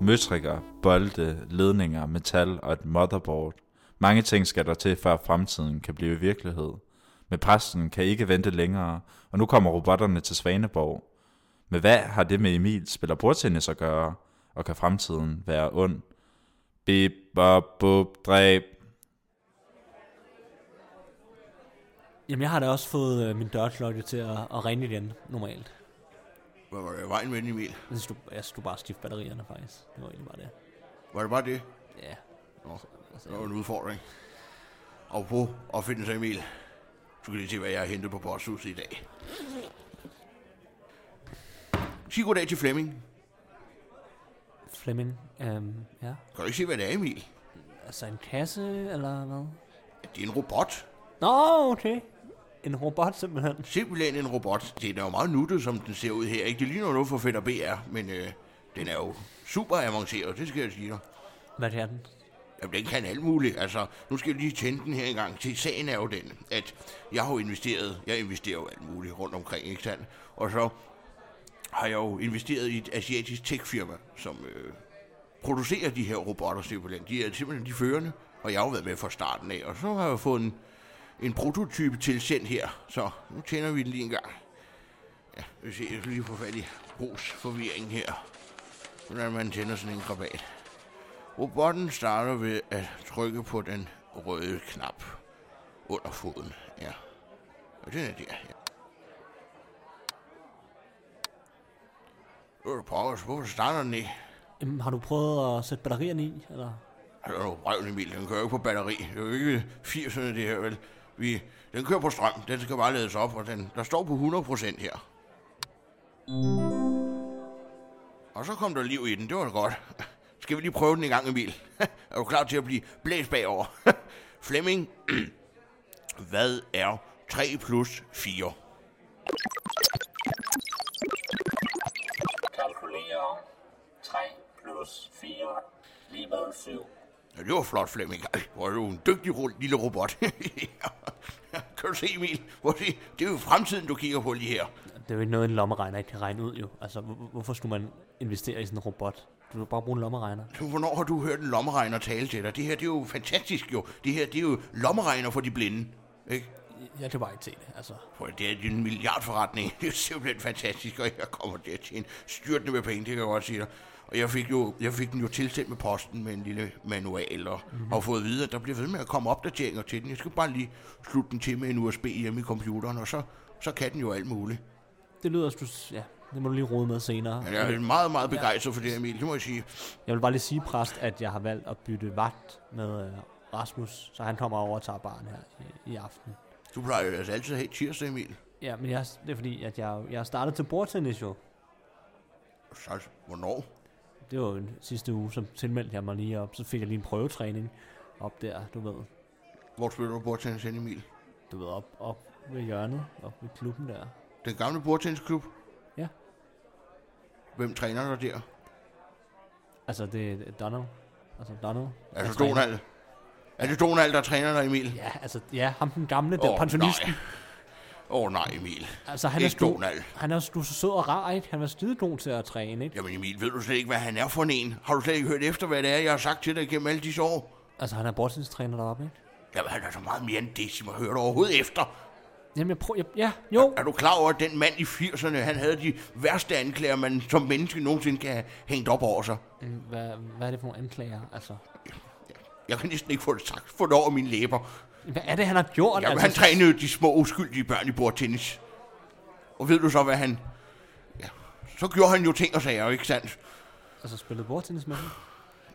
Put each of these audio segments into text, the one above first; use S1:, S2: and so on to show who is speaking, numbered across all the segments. S1: møtrikker, bolde, ledninger, metal og et motherboard. Mange ting skal der til, før fremtiden kan blive virkelighed. Men præsten kan ikke vente længere, og nu kommer robotterne til Svaneborg. Men hvad har det med Emil spiller bordtennis at gøre, og kan fremtiden være ond? Bip, bop, bup, dræb.
S2: Jamen, jeg har da også fået øh, min dørklokke til at, at ringe igen, normalt.
S3: Hvad var det vejen med den, Emil?
S2: Jeg synes, du, jeg synes, du bare skifte batterierne, faktisk. Det var egentlig bare det.
S3: Var det bare det?
S2: Ja.
S3: Nå,
S2: Altså,
S3: det var en udfordring. Og på opfindelse, Emil. Du kan lige se, hvad jeg har hentet på posthuset i dag. Sig goddag til Flemming.
S2: Flemming, øhm, ja.
S3: Kan du ikke se, hvad det er, Emil?
S2: Altså en kasse, eller hvad?
S3: Det er en robot.
S2: Nå, okay. En robot, simpelthen.
S3: Simpelthen en robot. Det er jo meget nuttet, som den ser ud her. Ikke? Det ligner noget for fedt og BR, men øh, den er jo super avanceret, det skal jeg sige dig.
S2: Hvad er den?
S3: Jamen, den kan alt muligt. Altså, nu skal jeg lige tænde den her en gang til. Sagen er jo den, at jeg har jo investeret, jeg investerer jo alt muligt rundt omkring, ikke sandt? Og så har jeg jo investeret i et asiatisk techfirma, som øh, producerer de her robotter simpelthen. De er simpelthen de førende, og jeg har jo været med fra starten af. Og så har jeg fået en, en prototype tilsendt her, så nu tænder vi den lige en gang. Ja, vi ser, jeg skal lige få fat i Brugs forvirring her. Hvordan man tænder sådan en krabat. Robotten starter ved at trykke på den røde knap under foden. Ja. Og den er der, ja. Øh, pokkers, hvorfor starter den ikke?
S2: Jamen, har du prøvet at sætte batterierne i, eller?
S3: Altså, det er jo røven, Emil. Den kører jo ikke på batteri. Det er jo ikke 80'erne, det her, vel? Vi, den kører på strøm. Den skal bare lades op, og den, der står på 100% her. Og så kom der liv i den. Det var da godt. Skal vi lige prøve den en gang, Emil? er du klar til at blive blæst bagover? Flemming, hvad er 3 plus 4?
S4: kalkulere 3 plus 4 lige med 7.
S3: Ja, det var flot, Flemming. Ej, Hvor er du en dygtig ro- lille robot. Ja. kan du se, Emil? Hvor er det, det er jo fremtiden, du kigger på lige her.
S2: Det er jo ikke noget, en lommeregner ikke kan regne ud, jo. Altså, hvor- hvorfor skulle man investere i sådan en robot? Du vil bare bruge en lommeregner.
S3: Så hvornår har du hørt en lommeregner tale til dig? Det her, det er jo fantastisk jo. Det her, det er jo lommeregner for de blinde. Ikke?
S2: Jeg kan bare ikke se det, altså.
S3: For det er en milliardforretning. Det er simpelthen fantastisk, og jeg kommer der til en styrtende med penge, det kan jeg godt sige dig. Og jeg fik, jo, jeg fik den jo tilsendt med posten med en lille manual, og mm-hmm. har fået at vide, at der bliver ved med at komme opdateringer til den. Jeg skal bare lige slutte den til med en USB hjemme i computeren, og så, så kan den jo alt muligt.
S2: Det lyder, at du... Ja, det må du lige rode med senere.
S3: Men jeg er meget, meget begejstret for det, Emil, det må jeg sige.
S2: Jeg vil bare lige sige, præst, at jeg har valgt at bytte vagt med øh, Rasmus, så han kommer over og tager barn her i, i aften.
S3: Du plejer jo altså altid at have tirsdag, Emil.
S2: Ja, men jeg, det er fordi, at jeg, jeg startede til bordtennis jo.
S3: Så, hvornår?
S2: Det var jo en sidste uge, så tilmeldte jeg mig lige op. Så fik jeg lige en prøvetræning op der, du ved.
S3: Hvor spiller du bordtennis hen, Emil?
S2: Du ved, op, op ved hjørnet, op ved klubben der.
S3: Den gamle bordtennisklub?
S2: Ja.
S3: Hvem træner dig der?
S2: Altså, det er Donald. Altså, Donald.
S3: Er
S2: der
S3: det
S2: træner.
S3: Donald? Er det Donald, der træner dig, Emil?
S2: Ja, altså, ja, ham den gamle, der oh, pensionisten.
S3: nej. Åh oh, nej, Emil.
S2: Altså, han er,
S3: Ikke
S2: sgu,
S3: Donald.
S2: han er sgu så sød og rar, ikke? Han var skidegod til at træne, ikke?
S3: Jamen Emil, ved du slet ikke, hvad han er for en? Har du slet ikke hørt efter, hvad det er, jeg har sagt til dig gennem alle disse år?
S2: Altså, han er bordtennis-træner deroppe, ikke?
S3: Jamen, han er så meget mere end det, som jeg hørte overhovedet efter.
S2: Jamen, jeg prøver... Jeg, ja, jo.
S3: Er du klar over, at den mand i 80'erne, han havde de værste anklager, man som menneske nogensinde kan have hængt op over sig?
S2: Mm, Hvad, hvad er det for nogle anklager, altså?
S3: Jeg kan næsten ikke få det sagt, få det over mine læber.
S2: Hvad er det, han har gjort?
S3: Jamen, han
S2: altså,
S3: trænede jo de små uskyldige børn i bordtennis. Og ved du så, hvad han... Ja, så gjorde han jo ting og sager, ikke sandt?
S2: altså, spillede bordtennis med ham?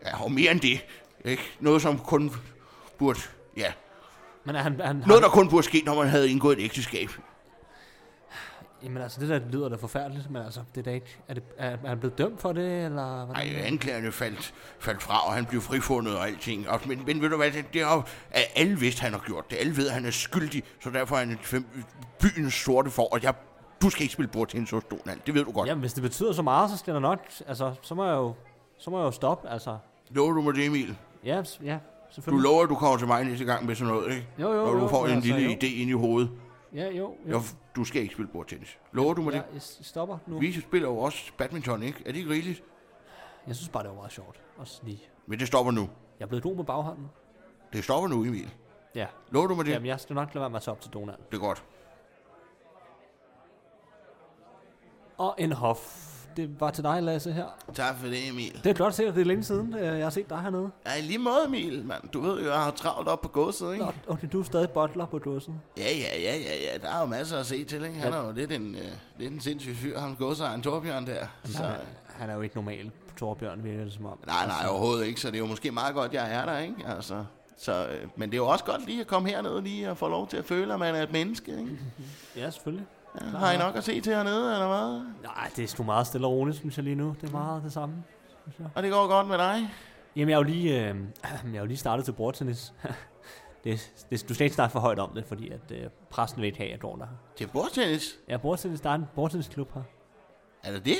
S3: Ja, og mere end det. Ikke? Noget, som kun burde... Ja,
S2: Men er han... han
S3: noget, der kun burde ske, når man havde indgået et ægteskab.
S2: han, jamen, altså, det der lyder da forfærdeligt, men altså, det er da ikke... Er, det, er, er han blevet dømt for det, eller... Hvordan?
S3: Nej, anklagerne faldt, faldt fra, og han blev frifundet og alting. Og, men, men ved du hvad, det, det er jo, at alle vidste, han har gjort det. Alle ved, at han er skyldig, så derfor er han et fem, byens sorte for, og jeg, du skal ikke spille bordtennis hos Donald. Det ved du godt.
S2: Jamen, hvis det betyder så meget, så skal der nok... Altså, så må jeg jo... Så må jeg jo stoppe, altså.
S3: Lover du mig det, Emil?
S2: Ja, s- ja,
S3: Du
S2: selvfølgelig.
S3: lover, at du kommer til mig næste gang med sådan noget, ikke?
S2: Jo, jo,
S3: Når du
S2: jo,
S3: får en
S2: altså,
S3: lille
S2: jo.
S3: idé ind i hovedet.
S2: Ja, jo, jo.
S3: Jo. Du skal ikke spille bordtennis. Lover du mig
S2: Ja,
S3: det?
S2: jeg s- stopper nu.
S3: Vi spiller jo også badminton, ikke? Er det ikke rigeligt?
S2: Jeg synes bare, det var meget sjovt. Også lige.
S3: Men det stopper nu.
S2: Jeg er blevet god med baghånden.
S3: Det stopper nu, Emil.
S2: Ja.
S3: Lover du mig det?
S2: Jamen, jeg skal nok lade være med at tage op til Donald.
S3: Det er godt.
S2: Og en hof. Det var til dig, Lasse, her.
S3: Tak for det, Emil.
S2: Det er godt at se, at det er længe siden, øh, jeg har set dig hernede.
S3: Ja, i lige måde, Emil, mand. Du ved jo, jeg har travlt op på godset, ikke?
S2: Nå, okay, du er stadig bottler på dåsen.
S3: Ja, ja, ja, ja, ja. Der er jo masser at se til, ikke? Han er jo lidt en, øh, lidt en sindssyg fyr, ham godsejeren Torbjørn der. Så,
S2: Han, han er jo ikke normal, Torbjørn, virker det som om.
S3: nej, nej, overhovedet ikke. Så det er jo måske meget godt, jeg er der, ikke? Altså, så, øh, men det er jo også godt lige at komme herned lige og få lov til at føle, at man er et menneske, ikke?
S2: Ja, selvfølgelig.
S3: Ja, har I nok at se til hernede, eller hvad?
S2: Nej, det er sgu meget stille og roligt, synes jeg lige nu. Det er meget det samme.
S3: Og det går godt med dig?
S2: Mm. Jamen, jeg er jo lige, øh, jeg er jo lige startet til bordtennis. det, det, du skal ikke snakke for højt om det, fordi at, øh, præsten vil ikke have, at jeg går der.
S3: Til bordtennis?
S2: Ja, bordtennis, der er en bordtennisklub her.
S3: Er det det?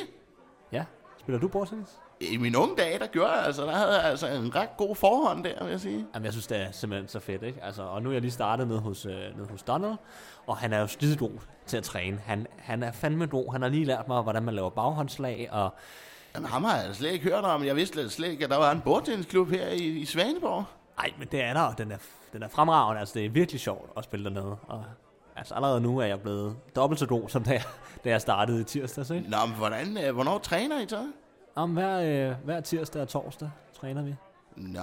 S2: Ja, spiller du bordtennis?
S3: I mine unge dage, der gjorde jeg altså, der havde jeg altså en ret god forhånd der, vil jeg sige.
S2: Jamen, jeg synes, det er simpelthen så fedt, ikke? Altså, og nu er jeg lige startet nede hos, øh, nede hos Donald, og han er jo skidegod til at træne. Han, han er fandme god. Han har lige lært mig, hvordan man laver baghåndslag, og
S3: Jamen, ham har jeg slet ikke hørt om. Jeg vidste slet ikke, at der var en bordtennisklub her i, i Svaneborg.
S2: Ej, men det er der, og den er, den er fremragende. Altså, det er virkelig sjovt at spille dernede. Og, altså, allerede nu er jeg blevet dobbelt så god, som da jeg, da jeg startede i tirsdags, ikke?
S3: Nå, men hvordan, øh, hvornår træner I så?
S2: Om hver, øh, hver tirsdag og torsdag træner vi.
S3: Nå.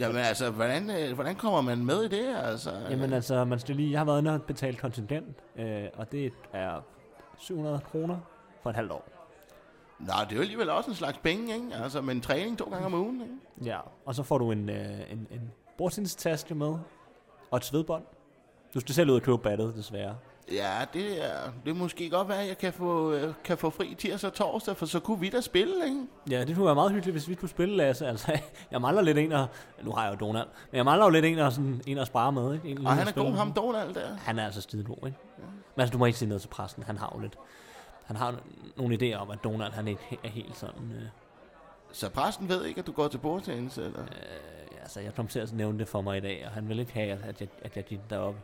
S3: Jamen altså, hvordan, øh, hvordan kommer man med i det? Altså,
S2: Jamen altså, man skal lige, jeg har været inde og betalt kontingent, øh, og det er 700 kroner for et halvt år.
S3: Nå, det er jo alligevel også en slags penge, ikke? Altså, men træning to gange om ugen, ikke?
S2: Ja, og så får du en, øh, en, en bordtindstaske med, og et svedbånd. Du skal selv ud og købe battet, desværre.
S3: Ja, det er, det er måske godt være, at jeg kan få, øh, kan få fri tirsdag og torsdag, for så kunne vi da spille, ikke?
S2: Ja, det kunne være meget hyggeligt, hvis vi kunne spille, Lasse. Altså, jeg mangler lidt en, og... Nu har jeg jo Donald. Men jeg mangler jo lidt en, og sådan, en at spare med, ikke? En,
S3: Og
S2: en
S3: han
S2: at
S3: er
S2: spille
S3: god,
S2: med.
S3: ham Donald der.
S2: Han er altså skidegod, ikke? Ja. Men altså, du må ikke sige noget til præsten. Han har jo lidt... Han har n- nogle idéer om, at Donald, han ikke he- er helt sådan... Øh,
S3: Så præsten ved ikke, at du går til bordtennis, eller?
S2: øh, altså, jeg kom til at nævne det for mig i dag, og han vil ikke have, at jeg, at jeg gik deroppe.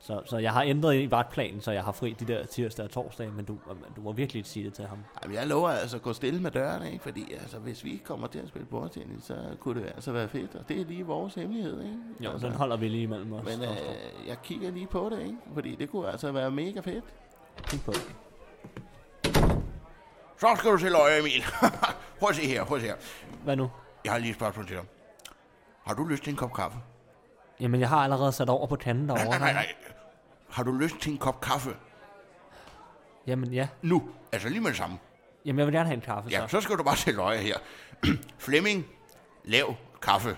S2: Så, så jeg har ændret i vagtplanen, så jeg har fri de der tirsdag og torsdag, men du, du må virkelig ikke sige det til ham.
S3: Jamen, jeg lover altså at gå stille med dørene, ikke? Fordi altså, hvis vi kommer til at spille bordtennis, så kunne det altså være fedt. Og det er lige vores hemmelighed, ikke?
S2: Jo,
S3: altså,
S2: den holder vi lige imellem os.
S3: men
S2: og- og-
S3: øh, jeg kigger lige på det, ikke? Fordi det kunne altså være mega fedt.
S2: kig på det.
S3: Så skal du til øje, Emil. prøv at se her, prøv at se her.
S2: Hvad nu?
S3: Jeg har lige et spørgsmål til dig. Har du lyst til en kop kaffe?
S2: Jamen, jeg har allerede sat over på kanden derovre.
S3: nej, nej, nej. Har du lyst til en kop kaffe?
S2: Jamen, ja.
S3: Nu. Altså lige med det samme.
S2: Jamen, jeg vil gerne have en kaffe,
S3: Ja,
S2: så.
S3: så skal du bare til øje her. Flemming, lav kaffe.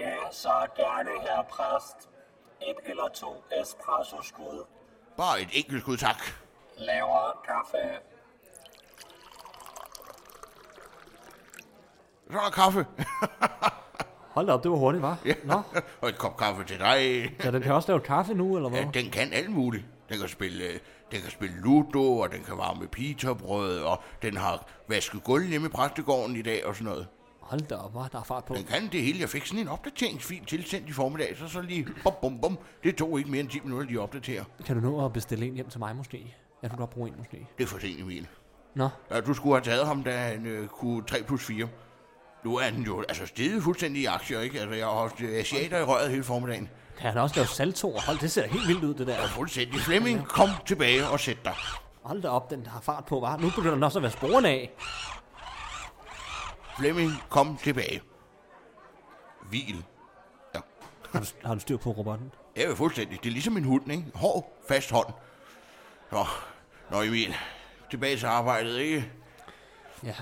S4: Ja, så gerne, herre præst. Et eller to espresso-skud.
S3: Bare et enkelt skud, tak.
S4: Laver kaffe.
S3: Så er der kaffe.
S2: Hold da op, det var hurtigt, var. Ja. Nå,
S3: Og et kop kaffe til dig.
S2: så den kan også lave kaffe nu, eller hvad?
S3: Ja, den kan alt muligt. Den kan spille, øh, den kan spille ludo, og den kan varme pitabrød, og den har vasket gulv hjemme i præstegården i dag og sådan noget.
S2: Hold da op, hvor der er fart på.
S3: Den kan det hele. Jeg fik sådan en opdateringsfil tilsendt i formiddag, så så lige bum bum bum. Det tog ikke mere end 10 minutter lige at opdatere.
S2: Kan du nå at bestille en hjem til mig, måske? Jeg kunne godt bruge en, måske.
S3: Det er for sent, Emil.
S2: Nå,
S3: Ja, du skulle have taget ham, da han øh, kunne 3 plus 4. Nu er han jo altså steget fuldstændig i aktier, ikke? Altså, jeg har haft øh, asiater i røret hele formiddagen.
S2: kan han også lave saltoer? Hold, det ser helt vildt ud, det der.
S3: Fuldstændig. Flemming, kom tilbage og sæt dig.
S2: Hold da op, den har fart på, var. Nu begynder den også at være sporene af.
S3: Flemming, kom tilbage. Hvil. Ja.
S2: Har du, har du styr på robotten?
S3: Jeg er jo fuldstændig. Det er ligesom en hund, ikke? Hård, fast hånd. Nå, Nå Emil. Tilbage til arbejdet, ikke?
S2: Ja.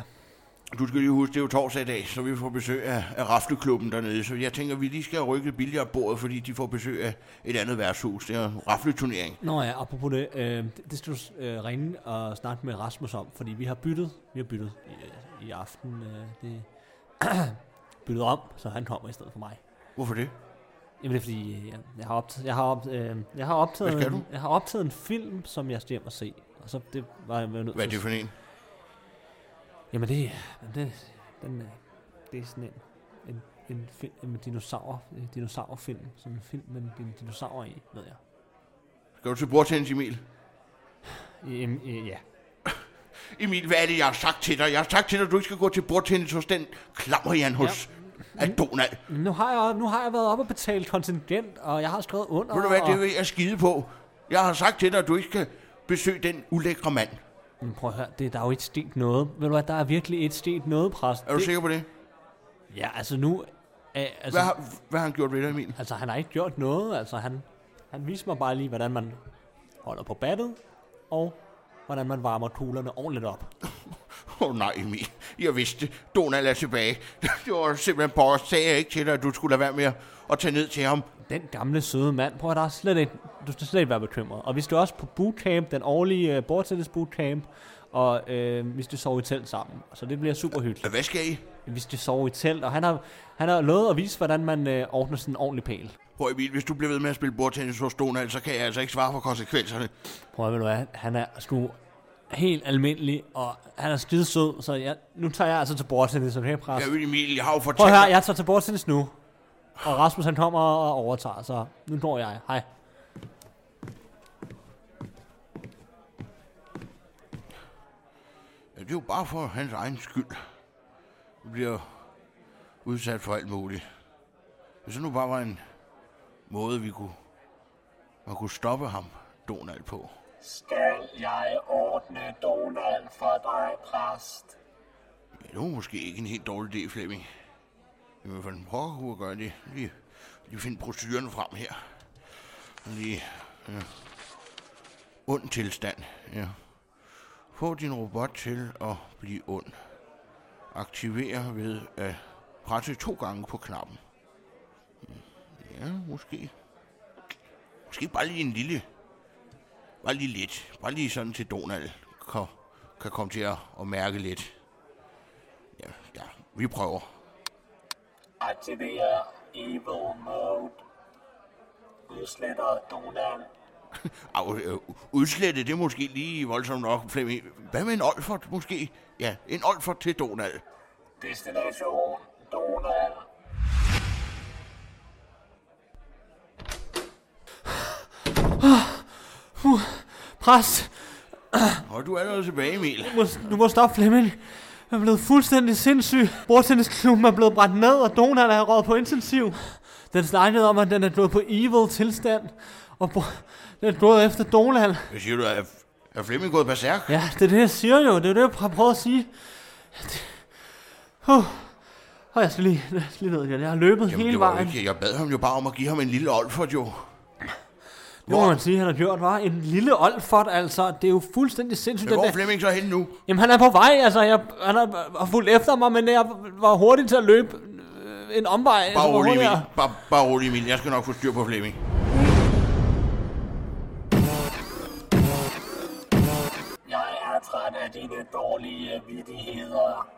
S3: Du skal lige huske, det er jo torsdag i dag, så vi får besøg af, af Rafleklubben dernede. Så jeg tænker, vi lige skal rykke billiardbordet, fordi de får besøg af et andet værtshus. Det er en rafleturnering.
S2: Nå ja, apropos det, øh, det- det skal du øh, ringe og snakke med Rasmus om, fordi vi har byttet, vi har byttet i, øh, i aften, øh, det byttet om, så han kommer i stedet for mig.
S3: Hvorfor det?
S2: Jamen det er fordi, øh, jeg, jeg har optaget, jeg har, op, øh, jeg har optaget,
S3: Hvad skal
S2: en,
S3: du?
S2: jeg har optaget en film, som jeg skal hjem og se, og så det var jeg var nødt
S3: Hvad er
S2: til.
S3: det for en?
S2: Jamen det, jamen det, den, øh, det er sådan en, en, en film med dinosaur, øh, dinosaurfilm, sådan en film med en dinosaur i, ved jeg.
S3: Skal du til bordtennis, Emil?
S2: Jamen, øh, ja.
S5: Emil, hvad er det, jeg har sagt til dig? Jeg har sagt til dig, at du ikke skal gå til bordtennis hos den klammerjan hos ja. at Donald. Mm.
S2: Nu har, jeg, nu har jeg været op og betalt kontingent, og jeg har skrevet under.
S5: Ved du hvad,
S2: og...
S5: det vil jeg skide på. Jeg har sagt til dig, at du ikke skal besøge den ulækre mand.
S2: Men prøv at høre, det, der er jo ikke sket noget. Ved du hvad, der er virkelig ikke sket noget, præst.
S5: Er du det... sikker på det?
S2: Ja, altså nu... Æ, altså,
S5: Hvad har, hvad har han gjort ved dig, Emil?
S2: altså, han har ikke gjort noget. Altså, han, han viste mig bare lige, hvordan man holder på battet, og hvordan man varmer kuglerne ordentligt op.
S5: Åh oh, nej, Emil. Jeg vidste, Donald er tilbage. Det var simpelthen på os. Sagde jeg ikke til dig, at du skulle lade være med at tage ned til ham?
S2: Den gamle søde mand, prøv at der er slet ikke, du skal slet ikke være bekymret. Og vi stod også på bootcamp, den årlige uh, bordtennis bootcamp, og øh, vi skal sove i telt sammen. Så det bliver super hyggeligt.
S5: Hvad skal I?
S2: Vi skal sove i telt, og han har, han har lovet at vise, hvordan man øh, ordner sådan en ordentlig pæl.
S5: Prøv Emil, hvis du bliver ved med at spille bordtennis hos Donald, så kan jeg altså ikke svare for konsekvenserne.
S2: Prøv at ved du hvad, han er sgu helt almindelig, og han er skide sød, så jeg, nu tager jeg altså til bordtennis som her præst.
S5: Jeg ved, Emil, jeg har jo
S2: Prøv
S5: fortalt
S2: at høre,
S5: dig...
S2: jeg tager til bordtennis nu. Og Rasmus han kommer og overtager, så nu går jeg. Hej.
S5: Ja, Det er jo bare for hans egen skyld. Du bliver udsat for alt muligt. Hvis det nu bare var en måde, vi kunne, man kunne stoppe ham, Donald, på.
S4: Skal jeg ordne Donald for dig, præst?
S5: Ja, det var måske ikke en helt dårlig idé, Flemming. Men for den pokker kunne jeg gøre det. Lige, lige finde proceduren frem her. Lige... Ja. Ond tilstand, ja. Få din robot til at blive ond. Aktiver ved at presse to gange på knappen. Mm, Ja, måske. Måske bare lige en lille... Bare lige lidt. Bare lige sådan til Donald kan, kan komme til at, at mærke lidt. Ja, ja, vi prøver.
S4: Aktiver Evil Mode. Udsletter Donald.
S5: Au, øh, udslette, det er måske lige voldsomt nok, Flemming. Hvad med en Olfert, måske? Ja, en Olfert til Donald.
S4: Destination Donald.
S2: Præst,
S5: Og du er allerede tilbage, Emil.
S2: du må, du må stoppe Flemming. Jeg er blevet fuldstændig sindssyg. Bordtennisklubben er blevet brændt ned, og Donald er røget på intensiv. Den snakkede om, at den er gået på evil tilstand, og bo- den er gået efter Donald.
S5: Hvad siger du, er, er Flemming gået berserk?
S2: Ja, det er det, jeg siger jo. Det er det, jeg har prøvet at sige. Huh. Og jeg skal lige, jeg skal lige ned igen. Jeg har løbet Jamen, hele
S5: det var jo
S2: vejen.
S5: Ikke, jeg bad ham jo bare om at give ham en lille Olfert, jo.
S2: Det må man sige, han har gjort, var En lille Olfert, altså. Det er jo fuldstændig sindssygt.
S5: Men
S2: Den
S5: hvor
S2: der,
S5: er Flemming så henne nu?
S2: Jamen, han er på vej, altså. Jeg, han har har fulgt efter mig, men jeg var hurtig til at løbe øh, en omvej. altså,
S5: Bare
S2: hvor
S5: rolig,
S2: hurtigt
S5: Emil.
S2: jeg-
S5: Bare, bare rolig, Emil. Jeg skal nok få styr på Flemming.
S4: Jeg er træt af dine dårlige vidigheder.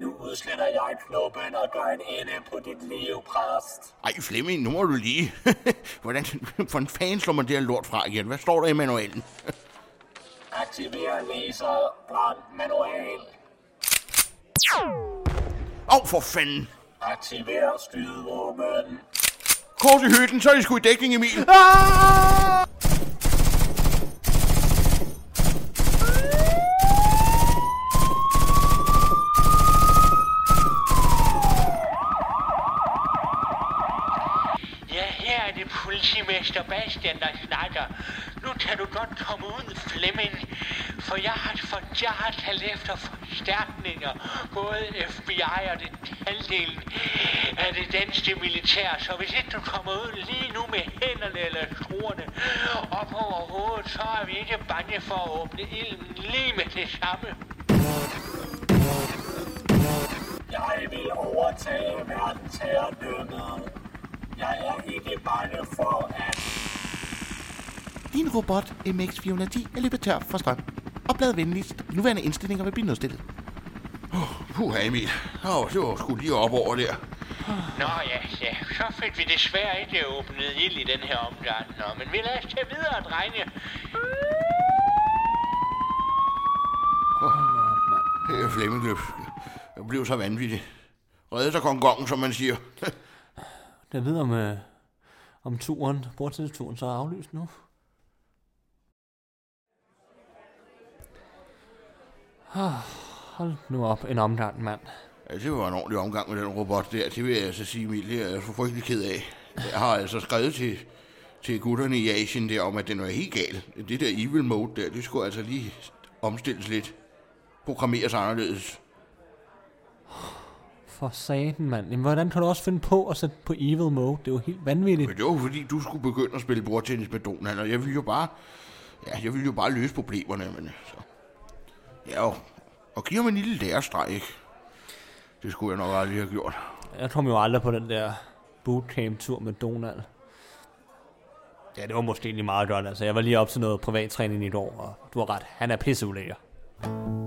S4: Nu udsletter jeg knuppen og gør en ende på dit liv, præst.
S5: Ej, Flemming, nu må du lige. Hvordan, for en fan slår man det her lort fra igen? Hvad står der i manualen?
S4: Aktiver laser brand manual.
S5: Åh, oh, for fanden!
S4: Aktiver skydevåben.
S5: Kors i hytten, så er de sgu i dækning, Emil.
S2: Ah!
S6: Ja, her er det politimester Bastian, der snakker. Nu kan du godt komme ud, Flemming, for jeg har, for jeg har talt efter forstærkninger. Både FBI og det halvdelen af det danske militær. Så hvis ikke du kommer ud lige nu med hænderne eller skruerne op over hovedet, så er vi ikke bange for at åbne ilden lige med det samme.
S4: Jeg vil overtage verdens herredømmet. Jeg er ikke bange for, at
S3: Din robot MX410 er løbet tør for strøm. Oplad venligst. De nuværende indstillinger vil blive nedstillet.
S5: Puh, Emil. Åh, oh, det var sgu lige op over der.
S6: Nå ja, ja, så fik vi desværre ikke åbnet ild i den her omgang. Nå, men vi lader os tage videre, drenge.
S5: Her Øh, Flemming blev, blev så vanvittig. Reddet af kongongen, som man siger.
S2: Jeg ved om, øh, om turen, bordtennisturen, så er aflyst nu. Hold nu op, en omgang, mand.
S5: Altså, det var en ordentlig omgang med den robot der. Det vil jeg altså sige, Emil, det er jeg så frygtelig ked af. Jeg har altså skrevet til, til gutterne i Asien der om, at den var helt gal. Det der evil mode der, det skulle altså lige omstilles lidt. Programmeres anderledes.
S2: For satan, mand. Jamen, hvordan kan du også finde på at sætte på evil mode? Det er jo helt vanvittigt.
S5: Men det var jo fordi, du skulle begynde at spille bordtennis med Donald, og jeg ville jo bare, ja, jeg ville jo bare løse problemerne. Men, så. Ja, og, og giv ham en lille lærestreg, ikke? Det skulle jeg nok aldrig have gjort.
S2: Jeg kom jo aldrig på den der bootcamp-tur med Donald. Ja, det var måske egentlig meget godt. Altså, jeg var lige op til noget privattræning i går, og du har ret. Han er pisseulækker.